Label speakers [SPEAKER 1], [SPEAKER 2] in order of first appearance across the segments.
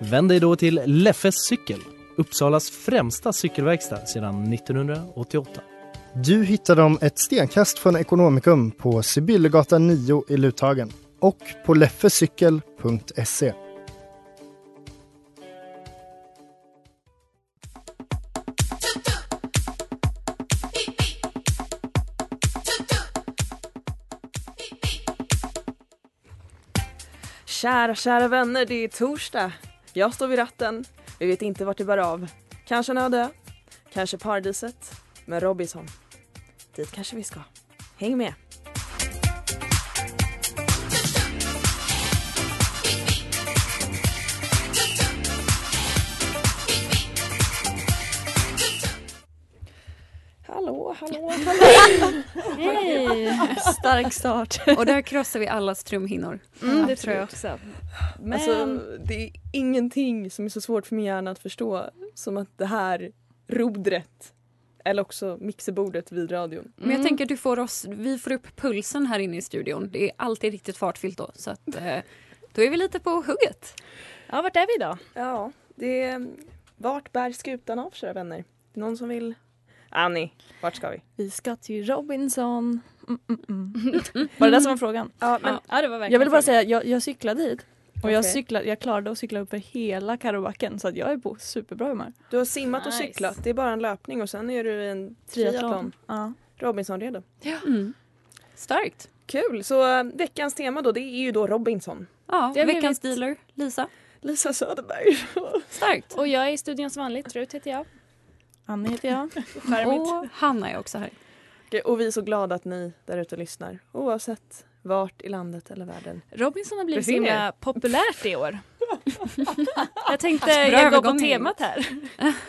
[SPEAKER 1] Vänd dig då till Leffes cykel, Uppsalas främsta cykelverkstad sedan 1988.
[SPEAKER 2] Du hittar dem ett stenkast från Ekonomikum på Sibyllegatan 9 i Luthagen och på leffecykel.se.
[SPEAKER 3] Kära, kära vänner, det är torsdag. Jag står vid ratten. Vi vet inte vart det bär av. Kanske en öde ö. Kanske paradiset. Men Robinson, dit kanske vi ska. Häng med! Hallå, hallå, hallå!
[SPEAKER 4] Stark start.
[SPEAKER 5] Och där krossar vi allas trumhinnor.
[SPEAKER 3] det tror jag
[SPEAKER 5] också.
[SPEAKER 3] Men... Alltså, det är ingenting som är så svårt för min hjärna att förstå som att det här rodret eller också mixerbordet vid radion.
[SPEAKER 5] Men
[SPEAKER 6] Mm.
[SPEAKER 5] jag tänker att du får oss, vi får upp pulsen här inne i studion. Det är alltid riktigt fartfyllt då. Så att, eh, då är vi lite på hugget.
[SPEAKER 6] Ja, vart är vi då?
[SPEAKER 3] Ja, det är... Vart bär skutan av, kära vänner? Det är någon som vill... Annie, vart ska vi?
[SPEAKER 4] Vi ska till Robinson. Mm, mm, mm. Var det där som var frågan?
[SPEAKER 3] Ja, men...
[SPEAKER 6] Ja, det var verkligen
[SPEAKER 4] Jag vill bara säga, jag, jag cyklade dit. Och jag,
[SPEAKER 3] Okej.
[SPEAKER 4] cyklade, jag klarade att cykla upp för hela Karrobacken så att jag är på superbra humör.
[SPEAKER 3] Du har simmat och
[SPEAKER 6] Nice.
[SPEAKER 3] cyklat. Det är bara en löpning och sen är du i en triathlon.
[SPEAKER 4] Ja.
[SPEAKER 3] Robinson redo.
[SPEAKER 5] Mm. Starkt.
[SPEAKER 3] Kul! Så eh, veckans tema då, det är ju då Robinson.
[SPEAKER 5] Ja,
[SPEAKER 6] Det har
[SPEAKER 5] veckans
[SPEAKER 6] blivit-
[SPEAKER 5] dealer, Lisa.
[SPEAKER 3] Lisa Söderberg.
[SPEAKER 5] Starkt.
[SPEAKER 6] Och jag är i studion som vanligt. Rut heter jag.
[SPEAKER 4] Annie heter jag.
[SPEAKER 6] Charmigt.
[SPEAKER 5] Och Hanna är också här.
[SPEAKER 3] Okej, Och vi är så glada att ni där ute lyssnar. Oavsett vart i landet eller världen.
[SPEAKER 6] Robinson har blivit så
[SPEAKER 3] Befinner er.
[SPEAKER 6] himla populärt i år. jag tänkte
[SPEAKER 5] Alltså, Bra
[SPEAKER 6] jag går på
[SPEAKER 5] övergång.
[SPEAKER 6] temat här.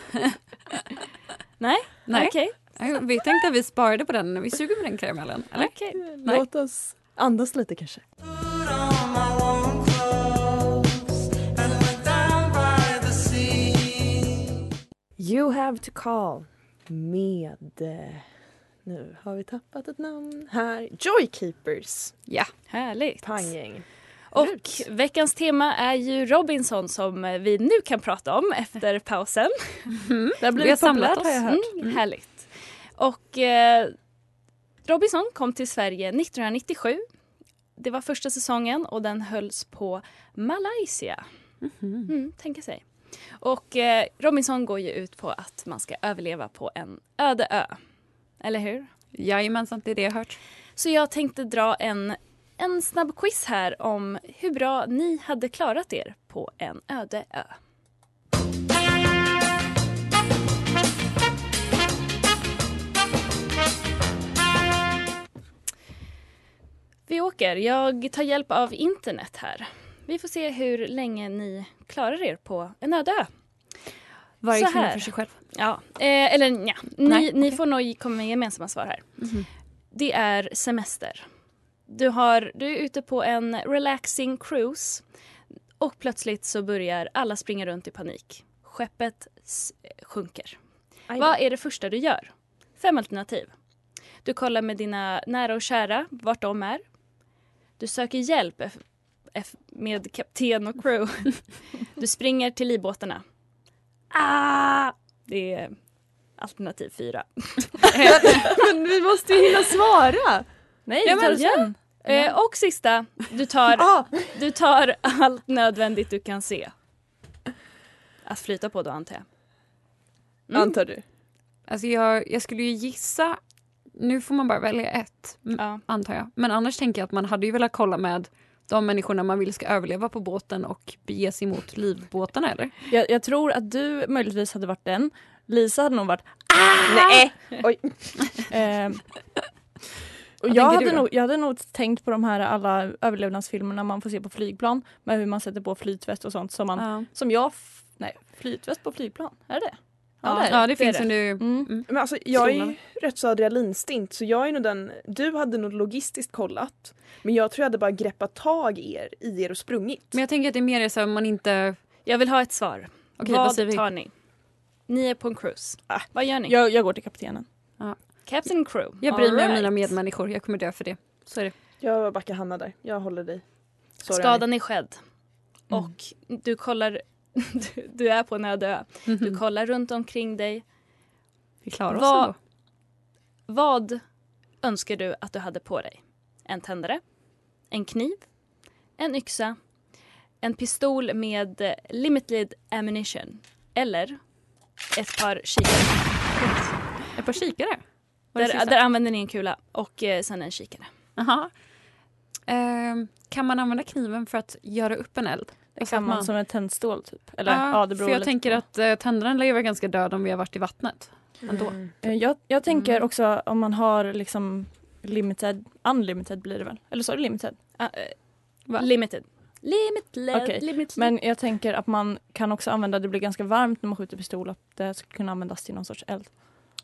[SPEAKER 6] Nej,
[SPEAKER 5] Nej.
[SPEAKER 6] okej.
[SPEAKER 5] Nej, Vi tänkte att vi sparade på den. Vi suger på den karamellen. Eller?
[SPEAKER 6] okej.
[SPEAKER 5] Nej.
[SPEAKER 3] Låt oss andas lite kanske. You have to call med... eh, Nu har vi tappat ett namn här. Joykeepers.
[SPEAKER 5] Ja.
[SPEAKER 6] Härligt.
[SPEAKER 3] Panggäng.
[SPEAKER 6] Och veckans tema är ju Robinson som vi nu kan prata om efter pausen. Det Mm-hmm. har
[SPEAKER 5] Vi har
[SPEAKER 6] blivit
[SPEAKER 5] samlat
[SPEAKER 6] populärt
[SPEAKER 5] oss.
[SPEAKER 6] har jag hört. Mm, härligt. Och eh, Robinson kom till Sverige 1997. Det var första säsongen och den hölls på Malaysia. Mm, tänka sig. Och eh, Robinson går ju ut på att man ska överleva på en öde ö. Eller hur?
[SPEAKER 5] Jajamensan, det är det jag har hört.
[SPEAKER 6] Så jag tänkte dra en, en snabb quiz här om hur bra ni hade klarat er på en öde ö. Vi åker. Jag tar hjälp av internet här. Vi får se hur länge ni klarar er på en öde ö.
[SPEAKER 5] Varje
[SPEAKER 6] Så
[SPEAKER 5] kvinna
[SPEAKER 6] här.
[SPEAKER 5] för sig själv.
[SPEAKER 6] Ja, eh, eller nja. Ni,
[SPEAKER 5] Nej,
[SPEAKER 6] ni
[SPEAKER 5] okej.
[SPEAKER 6] får nog komma med gemensamma svar här.
[SPEAKER 5] Mhm.
[SPEAKER 6] Det är semester. Du, har, du är ute på en relaxing cruise och plötsligt så börjar alla springa runt i panik. Skeppet s- sjunker. Vad är det första du gör? Fem alternativ. Du kollar med dina nära och kära vart de är. Du söker hjälp eff- eff- med kapten och crew. Du springer till livbåtarna. Ah! Det är alternativ fyra.
[SPEAKER 3] Men vi måste ju hinna svara!
[SPEAKER 4] Nej,
[SPEAKER 6] Ja,
[SPEAKER 4] vi
[SPEAKER 6] men
[SPEAKER 4] tar det
[SPEAKER 6] ja.
[SPEAKER 4] sen.
[SPEAKER 6] Eh, och sista, du tar,
[SPEAKER 3] Ah!
[SPEAKER 6] du tar allt nödvändigt du kan se. Att flyta på då antar jag. Mm.
[SPEAKER 3] Antar du.
[SPEAKER 5] Alltså jag, jag skulle ju gissa... Nu får man bara välja ett, m-
[SPEAKER 6] Ja.
[SPEAKER 5] antar jag. Men annars tänker jag att man hade ju velat kolla med de människorna man vill ska överleva på båten och bege sig mot livbåtarna, eller?
[SPEAKER 4] Jag, jag tror att du möjligtvis hade varit den.
[SPEAKER 6] Ah!
[SPEAKER 4] Lisa hade nog varit
[SPEAKER 3] Nej! Oj.
[SPEAKER 4] eh,
[SPEAKER 7] Och jag,
[SPEAKER 5] Vad tänker du
[SPEAKER 7] hade
[SPEAKER 5] då?
[SPEAKER 7] nog, Ehm, jag hade nog tänkt på de här alla överlevnadsfilmerna man får se på flygplan med hur man sätter på flytväst och sånt som, man,
[SPEAKER 5] Ja.
[SPEAKER 7] som jag... f- Nej, flytväst på flygplan, är det det?
[SPEAKER 5] Ja,
[SPEAKER 7] är
[SPEAKER 5] ja, det
[SPEAKER 7] är
[SPEAKER 5] finns ju nu.
[SPEAKER 7] Mm.
[SPEAKER 3] Men alltså, jag är
[SPEAKER 5] Stolarna.
[SPEAKER 3] ju rätt så adrenalinstint så jag är nog den, du hade nog logistiskt kollat men jag tror jag hade bara greppat tag i er, i er och sprungit.
[SPEAKER 5] Men jag tänker att det är mer så att man inte...
[SPEAKER 6] Jag vill ha ett svar.
[SPEAKER 5] Okej, vad
[SPEAKER 6] vad
[SPEAKER 5] säger vi?
[SPEAKER 6] tar ni? Ni är på en cruise.
[SPEAKER 3] Ah.
[SPEAKER 6] Vad gör ni?
[SPEAKER 7] Jag, jag går till kaptenen.
[SPEAKER 6] Captain Crew.
[SPEAKER 5] Jag bryr
[SPEAKER 6] All
[SPEAKER 5] mig om
[SPEAKER 6] right.
[SPEAKER 5] mina medmänniskor. Jag kommer dö för det. Så är det.
[SPEAKER 3] Jag backar Hanna där, jag håller dig. Sorry, Annie.
[SPEAKER 6] Skadan är skedd. Och du kollar... Du, du är på en öde ö. Du kollar runt omkring dig.
[SPEAKER 5] Vi klarar oss
[SPEAKER 6] Vad-
[SPEAKER 5] ändå.
[SPEAKER 6] Vad önskar du att du hade på dig? En tändare, en kniv, en yxa, en pistol med eh, limited ammunition eller ett par kikare.
[SPEAKER 5] Ett par kikare. Var det
[SPEAKER 6] Där,
[SPEAKER 5] sista?
[SPEAKER 6] där använder ni en kula och eh, sen en kikare.
[SPEAKER 5] Aha. Ehm, kan man använda kniven för att göra upp en eld?
[SPEAKER 7] Det
[SPEAKER 5] så att
[SPEAKER 7] kan
[SPEAKER 5] man-
[SPEAKER 7] man som en tändstål typ. Eller,
[SPEAKER 5] Ja,
[SPEAKER 7] ja, det beror
[SPEAKER 5] för jag
[SPEAKER 7] lite
[SPEAKER 5] tänker
[SPEAKER 7] på.
[SPEAKER 5] att eh, tänderna lär ju vara ganska död om vi har varit i vattnet. Ändå.
[SPEAKER 7] Eh, Jag, jag tänker
[SPEAKER 5] Mm.
[SPEAKER 7] också om man har liksom limited, unlimited blir det väl? Eller så är det limited?
[SPEAKER 6] Ah, eh,
[SPEAKER 5] Va?
[SPEAKER 6] limited. Limited.
[SPEAKER 7] Okej,
[SPEAKER 6] limited.
[SPEAKER 7] Men jag tänker att man kan också använda, det blir ganska varmt när man skjuter pistol, att det skulle kunna användas till någon sorts eld.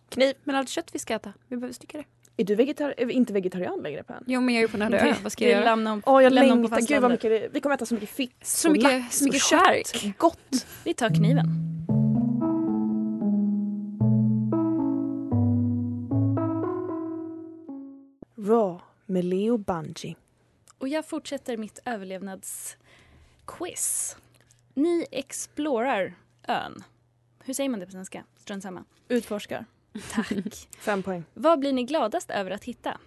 [SPEAKER 5] Kniv. Men allt kött vi ska äta. Vi behöver stycka det.
[SPEAKER 3] Är du vegetari- är vi inte vegetarian längre på
[SPEAKER 5] Jo, men jag är ju på en öde ö. Vad ska jag
[SPEAKER 6] Du
[SPEAKER 5] göra?
[SPEAKER 6] lämnar om-
[SPEAKER 3] Åh jag
[SPEAKER 6] lämnar om på
[SPEAKER 3] längtar, gud vad
[SPEAKER 6] fastlandet.
[SPEAKER 3] mycket det- vi kommer äta så mycket fisk
[SPEAKER 5] Så
[SPEAKER 3] och
[SPEAKER 5] mycket, så mycket
[SPEAKER 3] och
[SPEAKER 5] skärk.
[SPEAKER 3] kött. Gott!
[SPEAKER 6] Vi tar kniven.
[SPEAKER 3] Raw med Leo Bungie.
[SPEAKER 6] Och jag fortsätter mitt överlevnadsquiz. Ni explorar ön. Hör säger man det på svenska? Strunt samma.
[SPEAKER 7] Utforskar.
[SPEAKER 6] Tack.
[SPEAKER 3] Fem poäng.
[SPEAKER 6] Vad blir ni gladast över att hitta?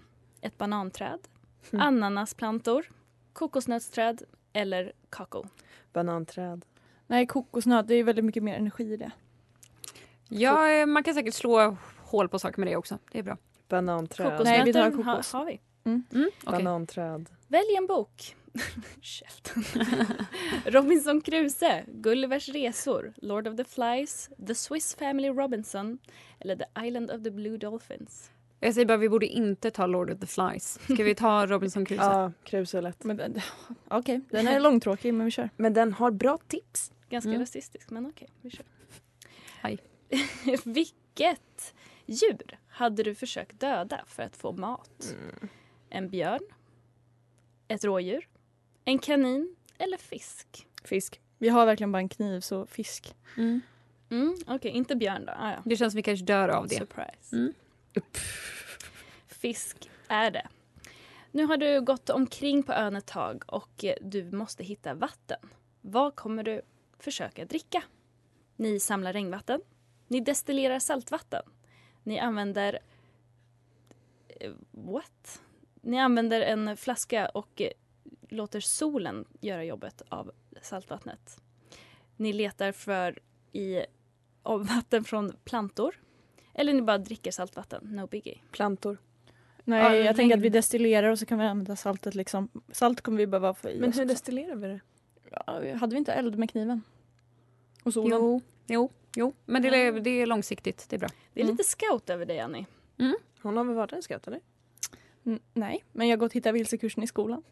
[SPEAKER 6] Ett bananträd,
[SPEAKER 3] Mm.
[SPEAKER 6] ananasplantor, kokosnötsträd eller kakao?
[SPEAKER 3] Bananträd.
[SPEAKER 7] Nej, kokosnöt, det är väldigt mycket mer energi i det.
[SPEAKER 5] Ja, eh, man kan säkert slå hål på saker med det också. Det är bra.
[SPEAKER 3] Bananträd.
[SPEAKER 6] Kokosnötter
[SPEAKER 7] Nej, vi tar kokos.
[SPEAKER 6] Ha, har vi.
[SPEAKER 5] Mm, okej.
[SPEAKER 3] Bananträd.
[SPEAKER 6] Välj en bok. Shelton. Robinson Crusoe, Gullivers resor, Lord of the Flies, The Swiss Family Robinson eller The Island of the Blue Dolphins?
[SPEAKER 5] Jag säger bara, vi borde inte ta Lord of the Flies. Ska vi ta Robinson Crusoe?
[SPEAKER 3] Ja, krus är lätt.
[SPEAKER 7] Men den- Okej, den är långtråkig men vi kör.
[SPEAKER 3] Men den har bra tips.
[SPEAKER 6] Ganska
[SPEAKER 5] Mm.
[SPEAKER 6] rasistisk, men okej. vi kör.
[SPEAKER 5] Aj.
[SPEAKER 6] Vilket djur hade du försökt döda för att få mat?
[SPEAKER 5] Mm.
[SPEAKER 6] En björn? Ett rådjur? En kanin? Eller fisk?
[SPEAKER 3] Fisk.
[SPEAKER 7] Vi har verkligen bara en kniv så fisk.
[SPEAKER 5] Mm.
[SPEAKER 6] Mm, okej, inte björn då. Ah, ja.
[SPEAKER 5] Det känns som vi kanske dör av det.
[SPEAKER 6] Surprise.
[SPEAKER 5] Mm.
[SPEAKER 6] Fisk är det. Nu har du gått omkring på ön ett tag och eh, du måste hitta vatten. Vad kommer du försöka dricka? Ni samlar regnvatten. Ni destillerar saltvatten. Ni använder... eh, What? Ni använder en flaska och eh, låter solen göra jobbet av saltvattnet. Ni letar för i av vatten från plantor. Eller ni bara dricker saltvatten, no biggie.
[SPEAKER 3] Plantor.
[SPEAKER 7] Nej,
[SPEAKER 5] Ja,
[SPEAKER 7] jag
[SPEAKER 5] regn.
[SPEAKER 7] tänker att vi destillerar och så kan vi använda saltet liksom. Salt kommer vi behöva få i
[SPEAKER 3] Men
[SPEAKER 7] oss
[SPEAKER 3] hur
[SPEAKER 7] också.
[SPEAKER 3] destillerar vi det?
[SPEAKER 7] Ja, Hade vi inte eld med kniven? Och solen?
[SPEAKER 5] Jo, jo, jo. Men det är, det är långsiktigt. Det är bra.
[SPEAKER 6] Det är
[SPEAKER 7] Mm.
[SPEAKER 6] lite scout över dig Annie.
[SPEAKER 3] Hon har väl varit en scout eller?
[SPEAKER 7] Mm, nej, men jag har gått hitta vilsekursen i skolan.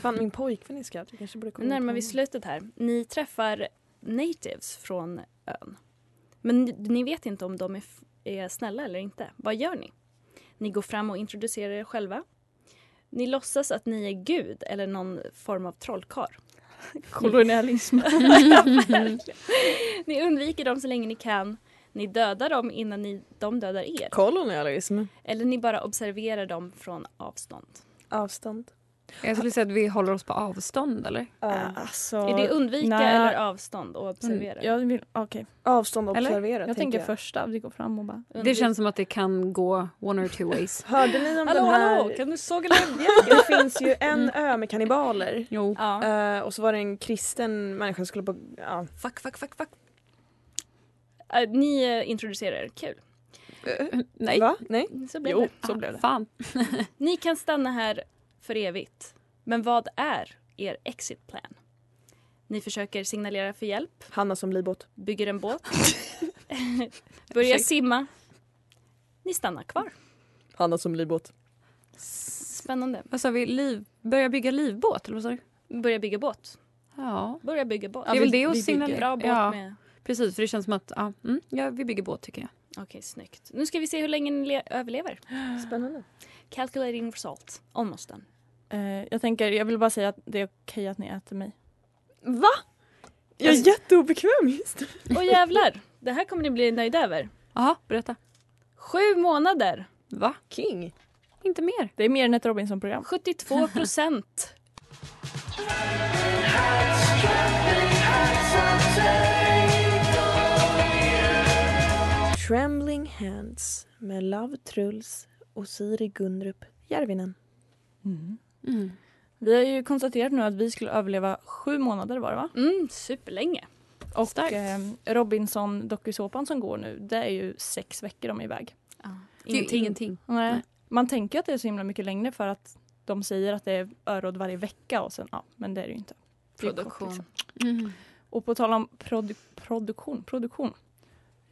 [SPEAKER 3] Fan min pojkvän är scout. Jag kanske borde
[SPEAKER 6] Nu
[SPEAKER 3] komma
[SPEAKER 6] närmar
[SPEAKER 3] in
[SPEAKER 6] vi
[SPEAKER 7] Mm.
[SPEAKER 3] på
[SPEAKER 6] slutet här. Ni träffar natives från ön. Men ni- ni vet inte om de är, f- är snälla eller inte. Vad gör ni? Ni går fram och introducerar er själva. Ni låtsas att ni är gud eller någon form av trollkarl.
[SPEAKER 7] Kolonialism.
[SPEAKER 6] Ni undviker dem så länge ni kan. Ni dödar dem innan ni, de dödar er.
[SPEAKER 3] Kolonialism.
[SPEAKER 6] Eller ni bara observerar dem från avstånd.
[SPEAKER 3] Avstånd.
[SPEAKER 5] Jag skulle säga att vi håller oss på avstånd, eller?
[SPEAKER 3] Äh,
[SPEAKER 7] alltså,
[SPEAKER 6] Är det undvika
[SPEAKER 7] nej.
[SPEAKER 6] eller avstånd och observera?
[SPEAKER 7] jag Mm. vill, okej.
[SPEAKER 3] Avstånd
[SPEAKER 5] Eller?
[SPEAKER 3] observera
[SPEAKER 7] Jag tänker första, vi går fram och bara...
[SPEAKER 5] Det känns som att det kan gå one or two ways.
[SPEAKER 3] Hörde ni om
[SPEAKER 6] Hallå,
[SPEAKER 3] den här?
[SPEAKER 6] hallå! Kan du såga
[SPEAKER 3] Det finns ju en ö med kannibaler.
[SPEAKER 5] Jo.
[SPEAKER 6] Ja.
[SPEAKER 3] Eh, och så var det en kristen människa som skulle på... Ja.
[SPEAKER 5] Fuck, fuck, fuck, fuck.
[SPEAKER 6] Eh, Ni eh, introducerar er. Kul.
[SPEAKER 5] Nej.
[SPEAKER 3] Va? Nej?
[SPEAKER 6] Så blev det.
[SPEAKER 5] så blev det. Fan.
[SPEAKER 6] Ni kan stanna här för evigt. Men vad är er exit plan? Ni försöker signalera för hjälp,
[SPEAKER 3] Hanna som livbåt.
[SPEAKER 6] bygger en båt, börjar simma. Ni stannar kvar.
[SPEAKER 3] Hanna som livbåt.
[SPEAKER 6] Spännande.
[SPEAKER 5] Vad sa vi? Liv, börja bygga livbåt? Eller vad sa du?
[SPEAKER 6] Börja bygga båt.
[SPEAKER 5] Ja.
[SPEAKER 6] Börja bygga båt.
[SPEAKER 5] Det är väl det att signalera.
[SPEAKER 6] Bra båt
[SPEAKER 5] Ja.
[SPEAKER 6] med.
[SPEAKER 5] Precis, för det känns som att ja, mm, ja, vi bygger båt tycker jag.
[SPEAKER 6] Okej, snyggt. Nu ska vi se hur länge ni le- överlever.
[SPEAKER 3] Spännande.
[SPEAKER 6] Calculating result. Almost done.
[SPEAKER 7] Eh, jag tänker, jag vill bara säga att det är okej att ni äter mig.
[SPEAKER 6] Va?
[SPEAKER 3] Jag är jätteobekväm just nu.
[SPEAKER 6] Åh jävlar. Det här kommer ni bli nöjda över.
[SPEAKER 5] Jaha, berätta.
[SPEAKER 6] Sju månader.
[SPEAKER 5] Va?
[SPEAKER 3] King.
[SPEAKER 5] Inte mer?
[SPEAKER 7] Det är mer än ett Robinson-program.
[SPEAKER 6] 72 procent.
[SPEAKER 3] Trembling Hands med Love Truls och Siri Gundrup Järvinen.
[SPEAKER 7] Mm. Vi har ju konstaterat nu att vi skulle överleva sju månader var det va?
[SPEAKER 6] Mm, superlänge.
[SPEAKER 7] Och eh, Robinson dokusåpan som går nu det är ju sex veckor de är iväg.
[SPEAKER 5] Det är ju ingenting.
[SPEAKER 7] Nej. Man tänker att det är så himla mycket längre för att de säger att det är öråd varje vecka och sen ja, men det är det ju inte. Det är ju kort, liksom.
[SPEAKER 5] Mm.
[SPEAKER 7] Och på tal om produ- produktion, produktion.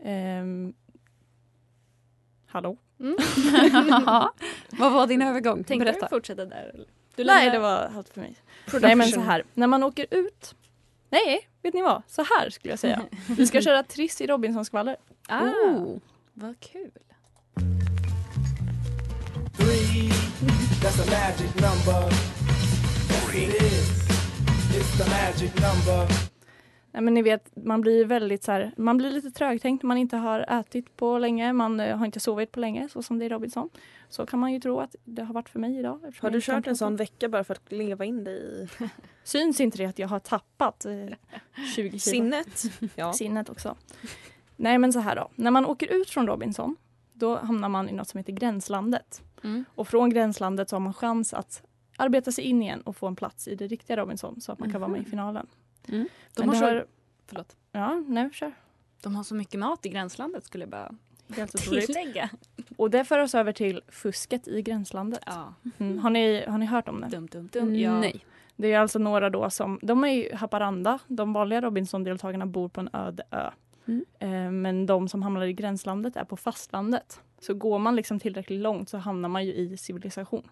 [SPEAKER 7] Ehm, hallå?
[SPEAKER 5] vad var din övergång?
[SPEAKER 6] Tänkte
[SPEAKER 5] berätta.
[SPEAKER 6] liksom. du fortsätta där? eller? Du
[SPEAKER 7] Nej,
[SPEAKER 6] lämnar-
[SPEAKER 7] det var allt för mig. Nej, men så här. När man åker ut. Nej, vet ni vad? Så här skulle jag säga. Vi ska köra Triss i Robinson-skvaller.
[SPEAKER 6] Ah,
[SPEAKER 5] Oh.
[SPEAKER 6] Vad kul.
[SPEAKER 7] Nej, men ni vet, man blir väldigt så här, man blir lite trögtänkt när man inte har ätit på länge. Man eh, har inte sovit på länge, så som det är i Robinson. Så kan man ju tro att det har varit för mig idag. eftersom
[SPEAKER 3] Har
[SPEAKER 7] jag
[SPEAKER 3] du
[SPEAKER 7] inte kan
[SPEAKER 3] kört en
[SPEAKER 7] prata.
[SPEAKER 3] sån vecka bara för att leva in dig i
[SPEAKER 7] Syns inte det att jag har tappat eh, 20 kilo?
[SPEAKER 3] sinnet? Ja.
[SPEAKER 7] sinnet också. Nej men så här då, när man åker ut från Robinson då hamnar man i något som heter Gränslandet.
[SPEAKER 5] Mm.
[SPEAKER 7] Och från Gränslandet så har man chans att arbeta sig in igen och få en plats i det riktiga Robinson så att man kan vara med i finalen.
[SPEAKER 5] Mm.
[SPEAKER 7] Men
[SPEAKER 6] har
[SPEAKER 7] det
[SPEAKER 6] så-
[SPEAKER 5] förlåt.
[SPEAKER 7] Ja, nej kör.
[SPEAKER 6] De har så mycket mat i gränslandet skulle jag bara
[SPEAKER 7] Helt otroligt.
[SPEAKER 6] tillägga.
[SPEAKER 7] Och det för oss över till fusket i Gränslandet.
[SPEAKER 6] Ja,
[SPEAKER 7] Mm. Har, ni, har ni hört om det?
[SPEAKER 6] dum, dum, dum. Ja.
[SPEAKER 5] Mm, Nej.
[SPEAKER 7] Det är alltså några då som, de är i Haparanda, de vanliga Robinson-deltagarna bor på en öde ö.
[SPEAKER 5] Mm.
[SPEAKER 7] Eh, men de som hamnar i gränslandet är på fastlandet. Så går man liksom tillräckligt långt så hamnar man ju i civilisation.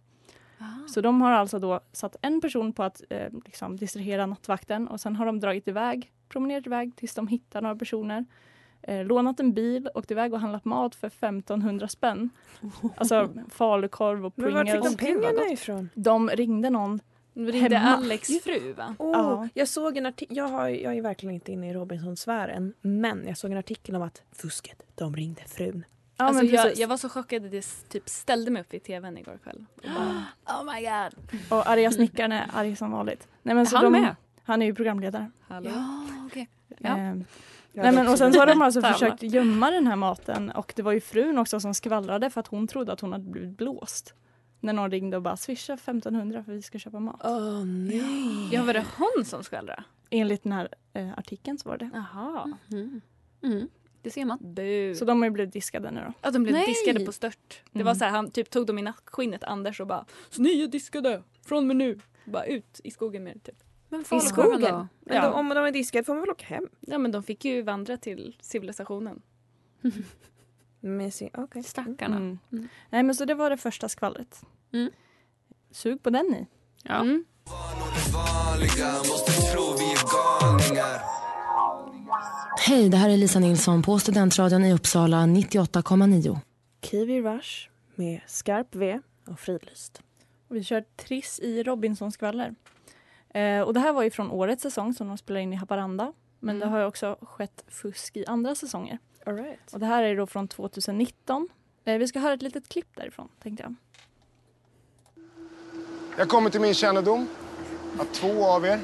[SPEAKER 7] Så de har alltså då satt en person på att eh, liksom distrahera nattvakten och sen har de dragit iväg, promenerat iväg tills de hittar några personer. Eh, lånat en bil, åkt iväg och handlat mat för 1500 spänn. Alltså falukorv och
[SPEAKER 3] Men vart fick
[SPEAKER 7] Pringles.
[SPEAKER 3] de pengarna ifrån?
[SPEAKER 7] De ringde någon
[SPEAKER 6] Nu ringde
[SPEAKER 7] Hemma.
[SPEAKER 6] Alex fru va?
[SPEAKER 3] Oh,
[SPEAKER 7] Ja.
[SPEAKER 3] Jag såg en artikel, jag, har, jag är verkligen inte inne i Robinsonsfären, men jag såg en artikel om att fusket, de ringde frun.
[SPEAKER 7] Ja,
[SPEAKER 6] alltså,
[SPEAKER 7] men
[SPEAKER 6] jag,
[SPEAKER 7] precis.
[SPEAKER 6] jag var så chockad att jag s- typ ställde mig upp vid tvn igår kväll. Och
[SPEAKER 7] Ah.
[SPEAKER 6] bara, oh my god.
[SPEAKER 7] Och arga snickaren är arg som vanligt. Nej, men
[SPEAKER 5] Är han med?
[SPEAKER 7] Han är ju programledare.
[SPEAKER 6] Hallå.
[SPEAKER 5] Ja, okej. Ja.
[SPEAKER 7] Ehm, nej, men, och sen så har de alltså försökt gömma den här maten och det var ju frun också som skvallrade för att hon trodde att hon hade blivit blåst. När någon ringde och bara swisha 1500 för vi ska köpa mat.
[SPEAKER 3] Åh oh, nej!
[SPEAKER 6] Ja var det hon som skvallrade?
[SPEAKER 7] Enligt den här eh, artikeln så var det
[SPEAKER 6] Jaha.
[SPEAKER 5] Mm. Mm. Det ser man.
[SPEAKER 6] Bu.
[SPEAKER 7] Så de har ju blivit diskade nu då.
[SPEAKER 6] Ja, de blev
[SPEAKER 5] Nej.
[SPEAKER 6] diskade på stört. Det
[SPEAKER 7] Mm.
[SPEAKER 6] var så här, han typ tog dem i nackskinnet Anders och bara Så ni är diskade från och med nu. Bara ut i skogen med er typ.
[SPEAKER 5] Men
[SPEAKER 6] I
[SPEAKER 5] falukorven
[SPEAKER 6] skogen.
[SPEAKER 5] då?
[SPEAKER 3] Men
[SPEAKER 7] Ja.
[SPEAKER 3] då, om de är diskade får man väl åka hem?
[SPEAKER 6] Ja men de fick ju vandra till civilisationen.
[SPEAKER 3] Med sin, okej.
[SPEAKER 5] Stackarna.
[SPEAKER 7] Mm. Nej men så det var det första skvallret.
[SPEAKER 5] Mm.
[SPEAKER 7] Sug på den ni.
[SPEAKER 5] Ja.
[SPEAKER 6] Mm.
[SPEAKER 8] Hej, det här är Lisa Nilsson på Studentradion i Uppsala 98,9.
[SPEAKER 3] Kiwi Rush med skarp V och fridlyst.
[SPEAKER 7] Och vi kör Triss i Robinson-skvaller. Eh, och det här var ju från årets säsong som de spelade in i Haparanda. Men
[SPEAKER 5] Mm.
[SPEAKER 7] det har ju också skett fusk i andra säsonger.
[SPEAKER 3] All right.
[SPEAKER 7] Och det här är då från 2019. Eh, vi ska höra ett litet klipp därifrån tänkte jag.
[SPEAKER 9] Jag kommer till min kännedom att två av er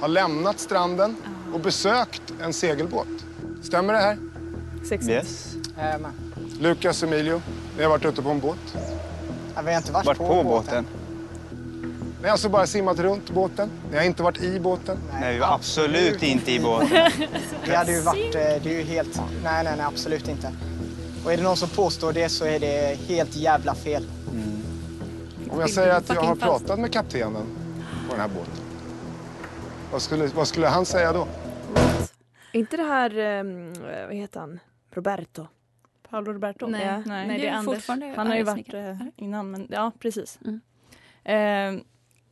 [SPEAKER 9] har lämnat stranden och besökt en segelbåt. Stämmer det här?
[SPEAKER 3] Sex.
[SPEAKER 10] Yes.
[SPEAKER 9] Lukas och Emilio, ni har varit ute på en båt.
[SPEAKER 10] Vart på, båten?
[SPEAKER 9] Ni har alltså bara simmat runt båten. Ni har inte varit i båten.
[SPEAKER 10] Nej, vi var absolut inte i båten.
[SPEAKER 8] Det hade ju varit, eh, det är ju helt, nej nej nej absolut inte. Och är det någon som påstår det så är det helt jävla fel.
[SPEAKER 9] Om jag säger att jag har pratat med kaptenen på den här båten. Vad skulle, vad skulle han säga då?
[SPEAKER 6] Mm,
[SPEAKER 3] Är inte det här, ehm, vad heter han, Roberto?
[SPEAKER 7] Paolo Roberto?
[SPEAKER 5] Nej.
[SPEAKER 7] Ja.
[SPEAKER 5] Nej,
[SPEAKER 7] Nej,
[SPEAKER 5] det
[SPEAKER 7] det är
[SPEAKER 5] är
[SPEAKER 7] Anders.
[SPEAKER 5] fortfarande
[SPEAKER 7] Han har ju
[SPEAKER 5] Anders
[SPEAKER 7] varit eh, innan, men ja, precis.
[SPEAKER 5] Mm.
[SPEAKER 7] Eh,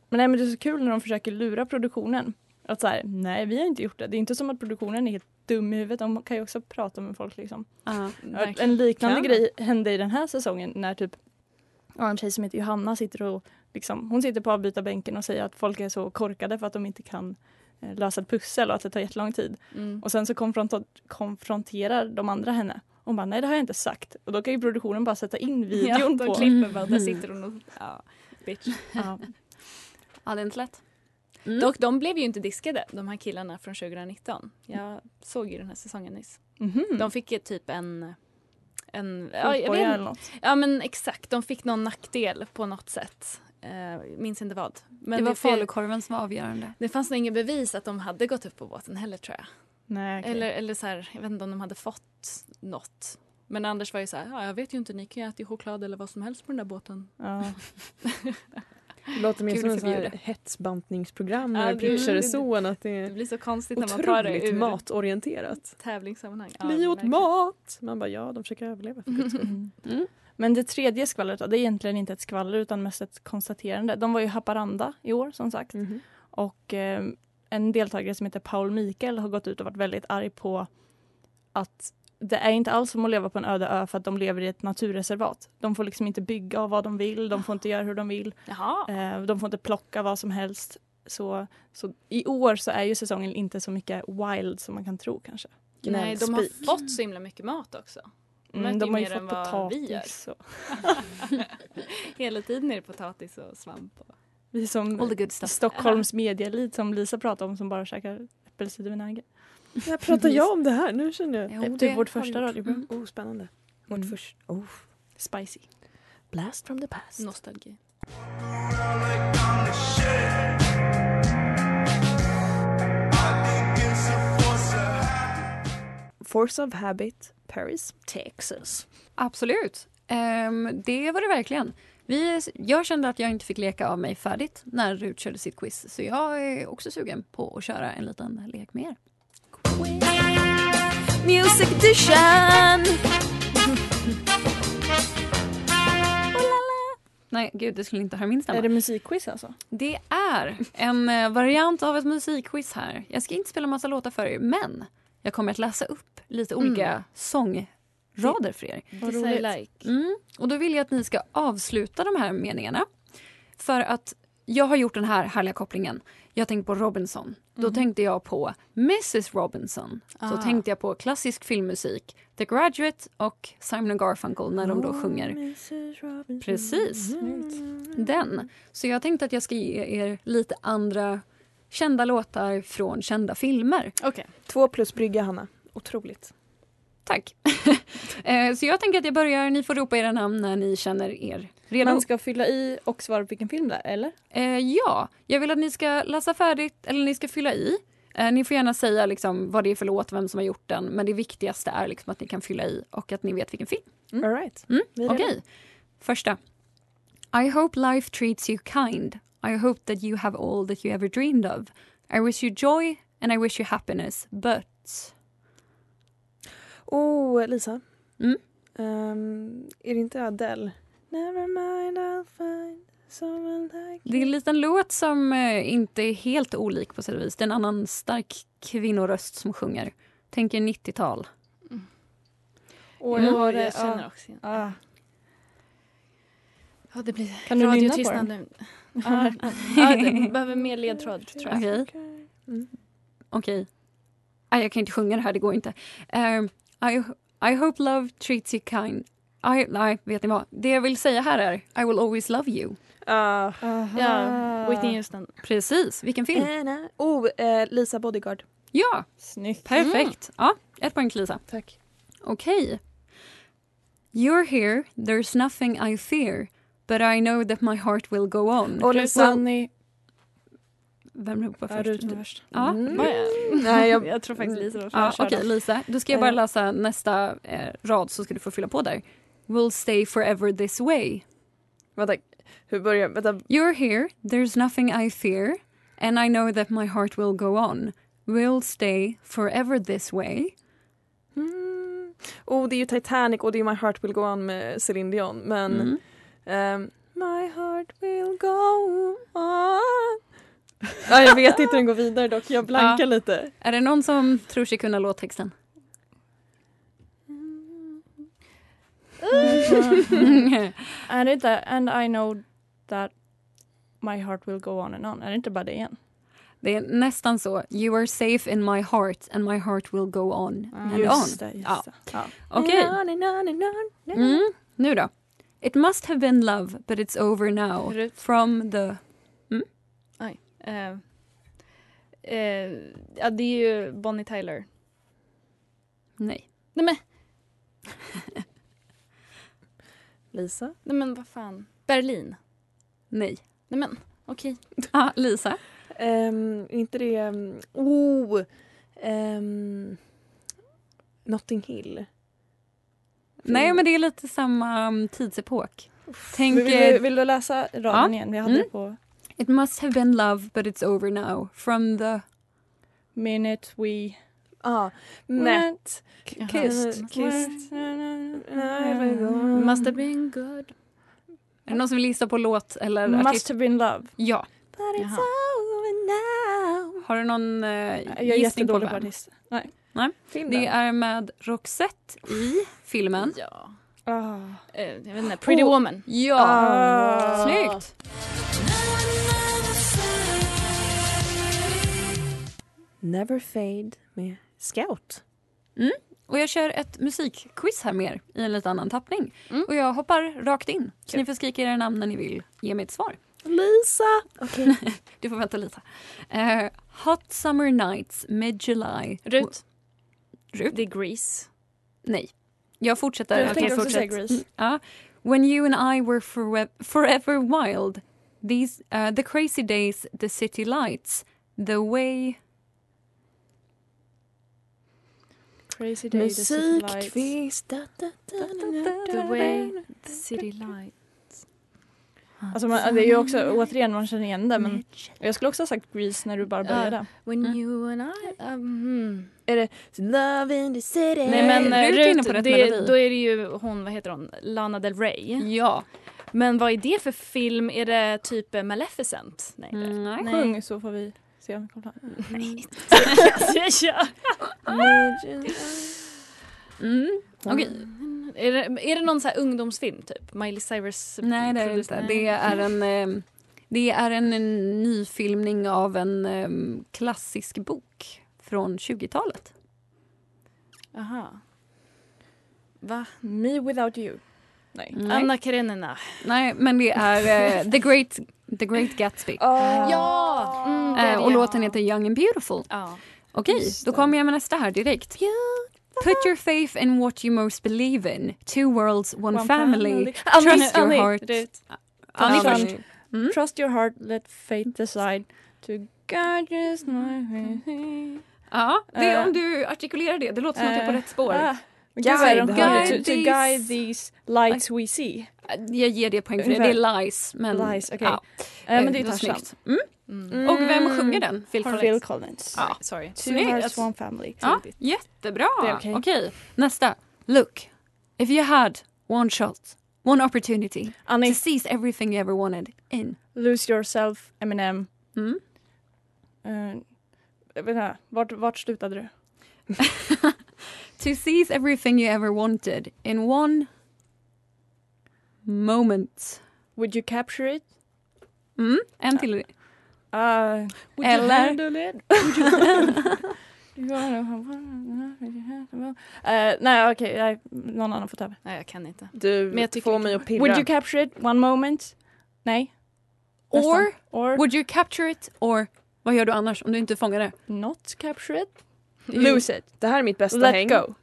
[SPEAKER 7] men, nej, men det är så kul när de försöker lura produktionen. Att så här, nej, vi har inte gjort det. Det är inte som att produktionen är helt dum i huvudet. De kan ju också prata med folk liksom. Att En liknande grej hände i den här säsongen när typ ja, en tjej som heter Johanna sitter och liksom, hon sitter på avbytarbänken och säger att folk är så korkade för att de inte kan eh, lösa ett pussel och att det tar jättelång tid.
[SPEAKER 6] Mm.
[SPEAKER 7] Och sen så konfronta- konfronterar de andra henne. Hon bara, nej det har jag inte sagt. Och då kan ju produktionen bara sätta in videon
[SPEAKER 6] ja,
[SPEAKER 7] på.
[SPEAKER 6] De klipper bara, där sitter hon och... Ja, bitch.
[SPEAKER 7] Ja.
[SPEAKER 6] ja, det är inte lätt. Dock, de blev ju inte diskade, de här killarna från 2019. Jag såg ju den här säsongen nyss.
[SPEAKER 7] Mhm.
[SPEAKER 6] De fick ju typ en... en jag
[SPEAKER 7] Fotboja
[SPEAKER 6] vet-
[SPEAKER 7] eller något.
[SPEAKER 6] Ja, men exakt. De fick någon nackdel på något sätt. Uh, minns inte vad. Men
[SPEAKER 5] det var
[SPEAKER 6] fe-
[SPEAKER 5] falukorven som var avgörande.
[SPEAKER 6] Det fanns nog inga bevis att de hade gått upp på båten heller tror jag.
[SPEAKER 7] Nej, okej.
[SPEAKER 6] Eller, eller så här, jag vet inte om de hade fått något. Men Anders var ju så här, ja, jag vet ju inte, ni kan ju äta choklad eller vad som helst på den där båten.
[SPEAKER 7] Ja.
[SPEAKER 3] Det låter mer
[SPEAKER 6] Gud
[SPEAKER 3] som en sån här
[SPEAKER 6] förbjude.
[SPEAKER 3] hetsbantningsprogram
[SPEAKER 6] Ja,
[SPEAKER 3] när
[SPEAKER 6] det-
[SPEAKER 3] det pitchar
[SPEAKER 6] det-
[SPEAKER 3] i zoon. Att det
[SPEAKER 6] Det
[SPEAKER 3] är
[SPEAKER 6] blir så konstigt när man tar det
[SPEAKER 3] otroligt
[SPEAKER 6] ur
[SPEAKER 3] matorienterat.
[SPEAKER 6] tävlingssammanhang.
[SPEAKER 3] Vi åt
[SPEAKER 6] verkligen.
[SPEAKER 3] mat! Man bara ja, de försöker överleva för guds skull.
[SPEAKER 7] Men det tredje skvallret då, det är egentligen inte ett skvaller utan mest ett konstaterande. De var ju i Haparanda i år som sagt. Och eh, en deltagare som heter Paul Mikael har gått ut och varit väldigt arg på att det är inte alls som att leva på en öde ö för att de lever i ett naturreservat. De får liksom inte bygga av vad de vill, de får inte göra hur de vill,
[SPEAKER 6] Jaha.
[SPEAKER 7] eh, de får inte plocka vad som helst. Så, så i år så är ju säsongen inte så mycket wild som man kan tro kanske.
[SPEAKER 6] Nej, de har fått så himla mycket mat också. De
[SPEAKER 7] Mm,
[SPEAKER 6] äter
[SPEAKER 7] de har ju
[SPEAKER 6] mer än
[SPEAKER 7] fått
[SPEAKER 6] vad vi gör.
[SPEAKER 7] potatis och-
[SPEAKER 6] Hela tiden är det potatis och svamp. Och...
[SPEAKER 7] Vi som
[SPEAKER 6] All the good stuff.
[SPEAKER 7] Stockholms medieelit som Lisa pratade om som bara käkar äppelcidervinäger.
[SPEAKER 3] När pratar jag om det här? Nu känner jag.
[SPEAKER 7] Jo, det
[SPEAKER 3] vårt
[SPEAKER 7] har
[SPEAKER 3] första
[SPEAKER 7] jag gjort.
[SPEAKER 3] radioprogram. Oh, spännande.
[SPEAKER 6] Mm.
[SPEAKER 3] Vårt första. Oh.
[SPEAKER 7] Spicy.
[SPEAKER 3] Blast from the past.
[SPEAKER 6] Nostalgi.
[SPEAKER 3] Force of Habit, Paris, Texas.
[SPEAKER 5] Absolut. Ehm, det var det verkligen. Vi, jag kände att jag inte fick leka av mig färdigt när Rut körde sitt quiz. Så jag är också sugen på att köra en liten lek med er.
[SPEAKER 6] Music edition!
[SPEAKER 5] Oh Nej, gud, det skulle inte höra min stämma.
[SPEAKER 7] Är det musikquiz alltså?
[SPEAKER 5] Det är en eh, variant av ett musikquiz här. Jag ska inte spela massa låtar för er, men jag kommer att läsa upp lite olika
[SPEAKER 6] Mm.
[SPEAKER 5] sångrader för er.
[SPEAKER 6] Vad This I roligt. like.
[SPEAKER 5] Mm. Och då vill jag att ni ska avsluta de här meningarna. För att jag har gjort den här härliga kopplingen. Jag tänkte på Robinson. Då tänkte jag på Mrs Robinson. Så
[SPEAKER 6] Mm. Ah.
[SPEAKER 5] tänkte jag på klassisk filmmusik, The Graduate och Simon och Garfunkel när de då sjunger. Precis. Den. Så jag tänkte att jag ska ge er lite andra kända låtar från kända filmer.
[SPEAKER 6] Okej.
[SPEAKER 3] Två plus brygga, Hanna. Otroligt.
[SPEAKER 5] Tack. Eh, Så jag tänker att jag börjar. Ni får ropa era namn när ni känner er redo.
[SPEAKER 7] Man ska fylla i och svara på vilken film det är, eller?
[SPEAKER 5] Eh, ja, jag vill att ni ska läsa färdigt, eller ni ska fylla i. Eh, ni får gärna säga liksom, vad det är för låt, vem som har gjort den, men det viktigaste är liksom att ni kan fylla i och att ni vet vilken film.
[SPEAKER 3] All right.
[SPEAKER 5] Mm?
[SPEAKER 3] Vi är
[SPEAKER 5] Okej. Första. I hope life treats you kind. I hope that you have all that you ever dreamed of. I wish you joy and I wish you happiness, but...
[SPEAKER 3] Oh, Lisa.
[SPEAKER 5] Mm.
[SPEAKER 3] Ehm, är det inte Adele? Never mind I'll find someone like
[SPEAKER 5] Det är en liten låt som eh, inte är helt olik på sätt och vis. Det är en annan stark kvinnoröst som sjunger. Tänk er 90-tal.
[SPEAKER 7] Och
[SPEAKER 6] Ja,
[SPEAKER 7] det var
[SPEAKER 6] Mm. jag
[SPEAKER 7] det-
[SPEAKER 6] känner
[SPEAKER 7] ja.
[SPEAKER 6] också igen.
[SPEAKER 7] Ja.
[SPEAKER 6] Ja, det blir
[SPEAKER 7] Kan du nynna på
[SPEAKER 6] radiotystnad
[SPEAKER 7] den?
[SPEAKER 6] nu. Ja, ja, det behöver mer ledtråd tror jag.
[SPEAKER 5] Okej. Okej. Nej, jag kan inte sjunga det här, det går inte. Ehm, I, I hope love treats you kind. I, nej, vet ni vad? Det jag vill säga här är I will always love you.
[SPEAKER 3] Ah.
[SPEAKER 6] Ja,
[SPEAKER 5] Ah.
[SPEAKER 6] Whitney Houston.
[SPEAKER 5] Precis. Vilken film?
[SPEAKER 3] Anna. Oh, eh, Lisa Bodyguard.
[SPEAKER 5] Ja,
[SPEAKER 7] Snyggt.
[SPEAKER 5] perfekt. Ja, ett poäng till Lisa.
[SPEAKER 3] Tack.
[SPEAKER 5] Okej. You're here, there's nothing I fear but I know that my heart will go on.
[SPEAKER 7] Och Lisa-
[SPEAKER 5] Well- Vem ropar
[SPEAKER 7] Ja,
[SPEAKER 5] först?
[SPEAKER 7] Rut var först.
[SPEAKER 5] Ja.
[SPEAKER 7] Mm.
[SPEAKER 5] Var jag?
[SPEAKER 7] Nej, jag- jag tror faktiskt Lisa var
[SPEAKER 5] Ja,
[SPEAKER 7] först.
[SPEAKER 5] Okej, Lisa. Då ska jag
[SPEAKER 3] Eh.
[SPEAKER 5] bara läsa nästa eh, rad så ska du få fylla på där. We'll stay forever this way.
[SPEAKER 3] Vänta, hur börjar... Vänta.
[SPEAKER 5] You're here, there's nothing I fear and I know that my heart will go on. We'll stay forever this way.
[SPEAKER 3] Oh, det är ju Titanic och det är My Heart Will Go On med Celine Dion. Men
[SPEAKER 5] Mm.
[SPEAKER 3] ehm, My heart will go on. ja, jag vet inte hur den går vidare dock. Jag blankar
[SPEAKER 5] Ja.
[SPEAKER 3] lite.
[SPEAKER 5] Är det någon som tror sig kunna låttexten?
[SPEAKER 7] är det inte And I know that my heart will go on and on? Är det inte bara det igen?
[SPEAKER 5] Det är nästan så. You are safe in my heart and my heart will go on and
[SPEAKER 7] Just
[SPEAKER 5] on.
[SPEAKER 7] det, just
[SPEAKER 5] ja.
[SPEAKER 7] det.
[SPEAKER 5] Okej.
[SPEAKER 3] Na, na, na, na, na.
[SPEAKER 5] Mm. Nu då. It must have been love but it's over now.
[SPEAKER 6] Rut.
[SPEAKER 5] From the...
[SPEAKER 6] Oj. Eh, eh, ja, det är ju Bonnie Tyler.
[SPEAKER 5] Nej.
[SPEAKER 6] Nej men,
[SPEAKER 3] Lisa?
[SPEAKER 6] nej men vad fan. Berlin.
[SPEAKER 5] Nej.
[SPEAKER 6] Nej men, okej.
[SPEAKER 5] Ja, Lisa.
[SPEAKER 3] Ehm, inte det... ehm, Oh! Um, Notting Hill.
[SPEAKER 5] Nej, men det är lite samma um, tidsepok. Tänk...
[SPEAKER 7] Vill du,
[SPEAKER 5] eh,
[SPEAKER 7] vill du läsa raden
[SPEAKER 5] Ja.
[SPEAKER 7] igen? Vi hade
[SPEAKER 5] Mm.
[SPEAKER 7] det på
[SPEAKER 5] It must have been love but it's over now. From the...
[SPEAKER 7] Minute we
[SPEAKER 3] Ah, Matt.
[SPEAKER 6] Jaha.
[SPEAKER 3] Kissed. Kissed.
[SPEAKER 6] Must have been good.
[SPEAKER 5] Är det någon som vill gissa på låt eller
[SPEAKER 7] Must
[SPEAKER 5] artist?
[SPEAKER 7] have been love.
[SPEAKER 5] Ja.
[SPEAKER 3] But it's
[SPEAKER 6] Jaha.
[SPEAKER 3] over now.
[SPEAKER 5] Har du någon eh,
[SPEAKER 7] Jag är
[SPEAKER 5] gissning på
[SPEAKER 7] jättedålig på
[SPEAKER 5] vem?
[SPEAKER 7] artister. Nej.
[SPEAKER 3] Filmen.
[SPEAKER 5] Det är med Roxette i filmen.
[SPEAKER 6] Ja.
[SPEAKER 7] Ah.
[SPEAKER 6] Eh, jag vet inte, Pretty
[SPEAKER 5] Oh.
[SPEAKER 6] Woman.
[SPEAKER 5] Ja,
[SPEAKER 7] Ah.
[SPEAKER 5] snyggt!
[SPEAKER 3] Never Fade med Scout.
[SPEAKER 5] Mm. Och jag kör ett musikquiz här med er i en lite annan tappning.
[SPEAKER 6] Mm.
[SPEAKER 5] Och jag hoppar rakt in. Så ni får skrika era namn när ni vill ge mig ett svar.
[SPEAKER 3] Lisa! Okej.
[SPEAKER 5] Du får vänta lite. Eh, Hot Summer Nights med July.
[SPEAKER 6] Rut.
[SPEAKER 5] Rut?
[SPEAKER 6] Det är Grease.
[SPEAKER 5] Nej. Jag fortsätter.
[SPEAKER 7] Jag tänkte också säga
[SPEAKER 5] fortsätt.
[SPEAKER 7] Grease.
[SPEAKER 5] Ja. When you and I were forwe- forever wild. These, eh, the crazy days, the city lights. The way...
[SPEAKER 7] Crazy Day, The City Lights.
[SPEAKER 3] Musikquiz. Da, da, da, da, da.
[SPEAKER 6] The way the city light.
[SPEAKER 7] Alltså man, det är ju också, återigen, man känner igen det men jag skulle också ha sagt Grease när du bara började.
[SPEAKER 6] When
[SPEAKER 5] Mm.
[SPEAKER 6] you and I... um, hmm.
[SPEAKER 3] Love in the city.
[SPEAKER 6] Nej men
[SPEAKER 5] Rut Mm. är
[SPEAKER 6] eh,
[SPEAKER 5] inne på
[SPEAKER 6] Rut,
[SPEAKER 5] rätt
[SPEAKER 6] det,
[SPEAKER 5] melodi. Mm.
[SPEAKER 6] då är det ju hon, vad heter hon, Lana Del Rey.
[SPEAKER 5] Ja.
[SPEAKER 6] Men vad är det för film? Är det typ eh, Maleficent? Nej. det är det.
[SPEAKER 5] Mm, nej.
[SPEAKER 7] Sjung så får vi se om vi kommer fram.
[SPEAKER 6] Ja.
[SPEAKER 5] Ah! Mm. Okej.
[SPEAKER 6] Är, det, är det någon så här ungdomsfilm typ? Miley Cyrus?
[SPEAKER 5] Nej, det är det inte. Det är en, eh, det är en, en nyfilmning av en eh, klassisk bok från 20-talet.
[SPEAKER 6] Aha. Va?
[SPEAKER 7] Me without you. Nej.
[SPEAKER 3] Mm.
[SPEAKER 5] Nej.
[SPEAKER 6] Anna Karenina.
[SPEAKER 5] Nej, men det är eh, The, Great, The Great Gatsby.
[SPEAKER 3] Ah.
[SPEAKER 6] Ja! Mm, det är
[SPEAKER 5] Eh, och
[SPEAKER 6] det.
[SPEAKER 5] låten heter Young and beautiful.
[SPEAKER 6] Ja.
[SPEAKER 5] Okej, då kommer jag med nästa här direkt. Put your faith in what you most believe in. Two worlds, one, family. Trust your
[SPEAKER 7] Annie,
[SPEAKER 5] heart. Ah,
[SPEAKER 7] Rut.
[SPEAKER 5] Annie
[SPEAKER 7] Annie.
[SPEAKER 5] först. Mm.
[SPEAKER 7] Trust your heart, let faith decide. To God is my way.
[SPEAKER 5] Ja, det är
[SPEAKER 7] Eh.
[SPEAKER 5] om du artikulerar det. Det låter som att jag är på
[SPEAKER 7] Eh.
[SPEAKER 5] rätt spår.
[SPEAKER 7] Ah, men gud vad är de
[SPEAKER 3] Guide
[SPEAKER 7] sjunger. to,
[SPEAKER 5] these-
[SPEAKER 7] to guide these lights we see.
[SPEAKER 5] Eh, Jag ger det poäng för det. Det är Lies. Men,
[SPEAKER 7] Lies, okej.
[SPEAKER 5] ja,
[SPEAKER 7] Eh, men det är
[SPEAKER 5] var
[SPEAKER 7] Tarzan. Mm.
[SPEAKER 5] snyggt. Mm. Och vem sjunger den?
[SPEAKER 6] Phil
[SPEAKER 5] Har du-
[SPEAKER 6] Collins.
[SPEAKER 7] Phil Collins.
[SPEAKER 5] Ja.
[SPEAKER 6] Sorry.
[SPEAKER 7] Two
[SPEAKER 5] Snyggt.
[SPEAKER 7] Hearts One Family.
[SPEAKER 5] Ja, jättebra.
[SPEAKER 7] Det är
[SPEAKER 5] okej.
[SPEAKER 7] okej.
[SPEAKER 5] Nästa. Look, if you had one shot, one opportunity
[SPEAKER 7] Annie,
[SPEAKER 5] to seize everything you ever wanted in.
[SPEAKER 7] Lose Yourself, Eminem.
[SPEAKER 5] Mm.
[SPEAKER 7] Uh, vänta, vart, vart slutade du?
[SPEAKER 5] To seize everything you ever wanted in one moment.
[SPEAKER 7] Would you capture it?
[SPEAKER 5] Mm, en till.
[SPEAKER 7] Uh, would you
[SPEAKER 5] Eller-
[SPEAKER 7] handle it? Would you- You wanna have one- Eh, nej okej, nej, någon annan får ta över.
[SPEAKER 6] Nej, jag kan inte.
[SPEAKER 3] Du
[SPEAKER 6] Men jag tycker
[SPEAKER 3] får
[SPEAKER 6] inte
[SPEAKER 3] mig
[SPEAKER 6] om-
[SPEAKER 3] att pirra.
[SPEAKER 7] Would you capture it one moment? Nej. Nästan.
[SPEAKER 5] Or
[SPEAKER 7] Or
[SPEAKER 5] would you capture it or vad gör du annars om du inte fångar det?
[SPEAKER 7] not capture it?
[SPEAKER 5] You-
[SPEAKER 7] Lose it.
[SPEAKER 3] Det här är mitt bästa
[SPEAKER 7] Let
[SPEAKER 3] häng.
[SPEAKER 7] go. You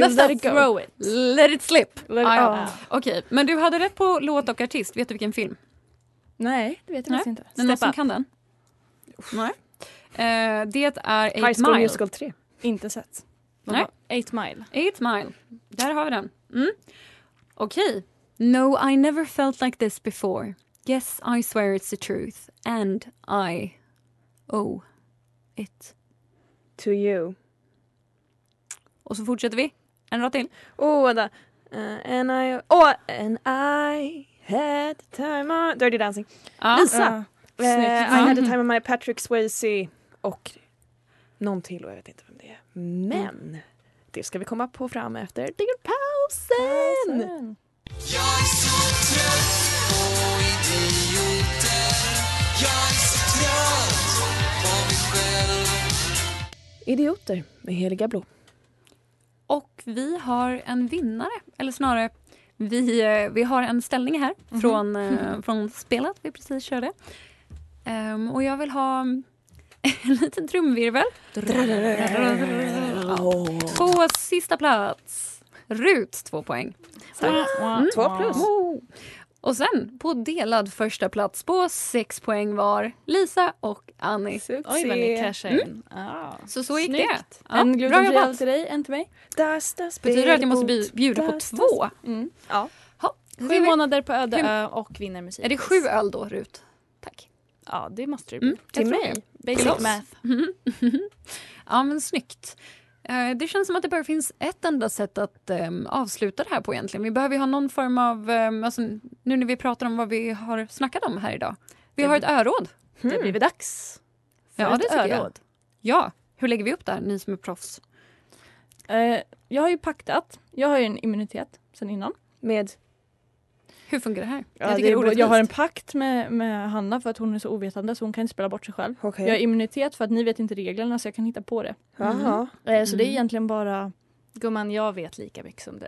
[SPEAKER 5] Nästa.
[SPEAKER 7] let it go.
[SPEAKER 6] Throw it.
[SPEAKER 5] Let it slip.
[SPEAKER 7] Let it,
[SPEAKER 5] Ah, ja.
[SPEAKER 7] ah.
[SPEAKER 5] Okej, men du hade rätt på låt och artist. Vet du vilken film?
[SPEAKER 7] Nej, det vet jag
[SPEAKER 5] Nej.
[SPEAKER 7] faktiskt inte.
[SPEAKER 5] Är det någon som
[SPEAKER 6] up.
[SPEAKER 5] kan den? Nej. Eh, det är
[SPEAKER 3] High
[SPEAKER 5] 8
[SPEAKER 3] School
[SPEAKER 5] Mile.
[SPEAKER 3] Musical 3.
[SPEAKER 7] Inte sett.
[SPEAKER 5] Nej.
[SPEAKER 6] Eight mile.
[SPEAKER 5] 8 Mile. Där har vi den. Mm. Okej. No, I never felt like this before. Yes, I swear it's the truth. And I owe it.
[SPEAKER 3] To you.
[SPEAKER 5] Och så fortsätter vi. En rad till.
[SPEAKER 3] Oh, vänta. Eh, and I... Oh, and I had the time of... Dirty Dancing.
[SPEAKER 5] Ja.
[SPEAKER 3] Lisa!
[SPEAKER 5] Ja.
[SPEAKER 3] Eh,
[SPEAKER 5] Snyggt.
[SPEAKER 3] I had the
[SPEAKER 5] Mm.
[SPEAKER 3] time of my Patrick Swayze och någon till och jag vet inte vem det är.
[SPEAKER 5] Mm.
[SPEAKER 3] Men det ska vi komma på fram efter pausen. Idioter med Heliga Blå.
[SPEAKER 5] Och vi har en vinnare, eller snarare vi, eh, vi har en ställning här
[SPEAKER 6] Mhm.
[SPEAKER 5] från, eh, från spelet vi precis körde. Ehm, och jag vill ha en liten trumvirvel. På sista plats, Rut, två poäng. Mm.
[SPEAKER 3] Två plus.
[SPEAKER 5] Wow. Och sen på delad första plats på sex poäng var Lisa och Annie.
[SPEAKER 6] Oj, vad ni cashar in.
[SPEAKER 5] Mm. Så så gick
[SPEAKER 6] Snyggt.
[SPEAKER 5] det. Ja,
[SPEAKER 7] en
[SPEAKER 5] bra
[SPEAKER 7] glutenfri öl
[SPEAKER 5] jobbat.
[SPEAKER 7] till dig, en till mig.
[SPEAKER 3] Das, das
[SPEAKER 5] Betyder det att jag måste bju- bjuda på två?
[SPEAKER 7] Mm.
[SPEAKER 3] Ja.
[SPEAKER 6] Sju månader på öde
[SPEAKER 5] Sju-
[SPEAKER 6] ö och vinner musik.
[SPEAKER 5] Är det sju öl då, Rut? Tack.
[SPEAKER 6] Ja, det måste det bli.
[SPEAKER 5] Mm, jag
[SPEAKER 6] Till
[SPEAKER 5] tror
[SPEAKER 6] mig?
[SPEAKER 5] det.
[SPEAKER 6] Basic
[SPEAKER 5] Till oss.
[SPEAKER 6] math.
[SPEAKER 5] Mhm. ja, men snyggt. Eh, Det känns som att det bara finns ett enda sätt att ehm, avsluta det här på egentligen. Vi behöver ju ha någon form av, ehm, alltså, nu när vi pratar om vad vi har snackat om här idag. Vi har ett
[SPEAKER 6] Mm.
[SPEAKER 5] öråd.
[SPEAKER 6] Det blir väl dags för
[SPEAKER 5] Ja,
[SPEAKER 6] ett
[SPEAKER 5] det tycker jag.
[SPEAKER 6] öråd.
[SPEAKER 5] Ja, hur lägger vi upp det här, ni som är proffs?
[SPEAKER 7] Eh, jag har ju paktat. Jag har ju en immunitet sen innan.
[SPEAKER 3] Med?
[SPEAKER 5] Hur fungerar det här?
[SPEAKER 7] Ja, jag,
[SPEAKER 5] tycker det är
[SPEAKER 7] jag har en
[SPEAKER 5] orättvist.
[SPEAKER 7] pakt med, med Hanna för att hon är så ovetande så hon kan inte spela bort sig själv.
[SPEAKER 3] Okej.
[SPEAKER 7] Jag har immunitet för att ni vet inte reglerna så jag kan hitta på det.
[SPEAKER 3] Jaha.
[SPEAKER 7] Eh, så det är egentligen bara...
[SPEAKER 6] Gumman, jag vet lika mycket som du.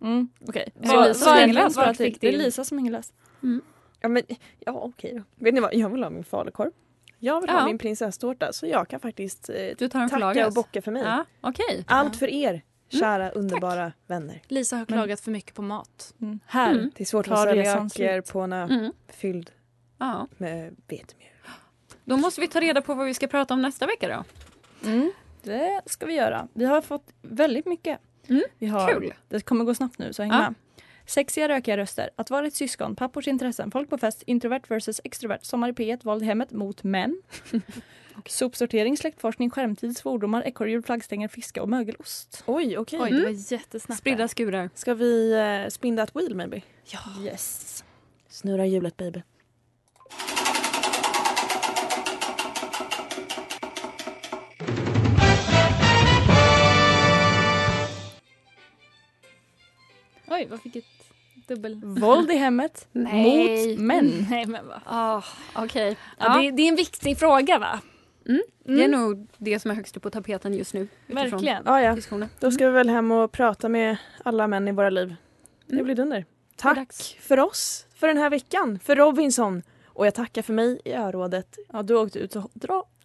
[SPEAKER 7] Mm, Okej.
[SPEAKER 6] Är det Lisa som hänger löst? Vart fick
[SPEAKER 7] Det är
[SPEAKER 6] din-
[SPEAKER 7] Lisa som hänger löst.
[SPEAKER 6] Mm.
[SPEAKER 3] Ja, men, ja okej då. Vet ni vad, jag vill ha min falukorv. Jag vill
[SPEAKER 5] Ja.
[SPEAKER 3] ha min prinsesstårta så jag kan faktiskt eh,
[SPEAKER 5] Du tar
[SPEAKER 3] tacka
[SPEAKER 5] en förlagas.
[SPEAKER 3] och bocka för mig.
[SPEAKER 5] Ja, okej.
[SPEAKER 3] Allt för er, kära underbara vänner.
[SPEAKER 6] Lisa har klagat för mycket på mat.
[SPEAKER 7] Mm. Här.
[SPEAKER 5] Mm.
[SPEAKER 3] Det är svårt
[SPEAKER 7] Ta
[SPEAKER 3] att sälja
[SPEAKER 7] resan slut.
[SPEAKER 3] akerpåna
[SPEAKER 5] Mm.
[SPEAKER 3] fylld
[SPEAKER 5] Ja.
[SPEAKER 3] med vetemjöl.
[SPEAKER 5] Då måste vi ta reda på vad vi ska prata om nästa vecka då.
[SPEAKER 7] Mm, det ska vi göra. Vi har fått väldigt mycket.
[SPEAKER 5] Mm,
[SPEAKER 7] Vi har,
[SPEAKER 5] kul.
[SPEAKER 7] Det kommer gå snabbt nu, så häng
[SPEAKER 5] Ja.
[SPEAKER 7] med. Sexiga rökiga röster, att vara ett syskon, pappors intressen, folk på fest, introvert versus extrovert, sommar i P1, våld i hemmet mot män. Sopsortering, släktforskning, skärmtid, svordomar, ekorrhjul, flaggstänger, fiska och mögelost.
[SPEAKER 3] Oj, okej.
[SPEAKER 6] Oj, det var jättesnabbt.
[SPEAKER 5] Spridda skurar.
[SPEAKER 3] Ska vi eh, spin that wheel maybe?
[SPEAKER 4] Oh,
[SPEAKER 7] Yes.
[SPEAKER 3] Snurra hjulet baby.
[SPEAKER 6] Oj, vad fick ett dubbel...
[SPEAKER 7] Våld i hemmet
[SPEAKER 5] Nej.
[SPEAKER 7] mot män.
[SPEAKER 6] Nej, men va?
[SPEAKER 5] Ah, okej.
[SPEAKER 6] Ja,
[SPEAKER 5] Ja.
[SPEAKER 6] Det, det är en viktig fråga, va?
[SPEAKER 5] Det är nog det som är högst upp på tapeten just nu. utifrån
[SPEAKER 6] Verkligen.
[SPEAKER 3] Ah, ja.
[SPEAKER 5] Diskussionen.
[SPEAKER 3] Då ska vi väl hem och prata med alla män i våra liv. Det
[SPEAKER 5] Mm.
[SPEAKER 3] blir dunder.
[SPEAKER 5] är
[SPEAKER 3] Tack
[SPEAKER 5] dags.
[SPEAKER 3] för oss för den här veckan, för Robinson. Och jag tackar för mig i örådet.
[SPEAKER 7] Ja, du åkte ut så dra.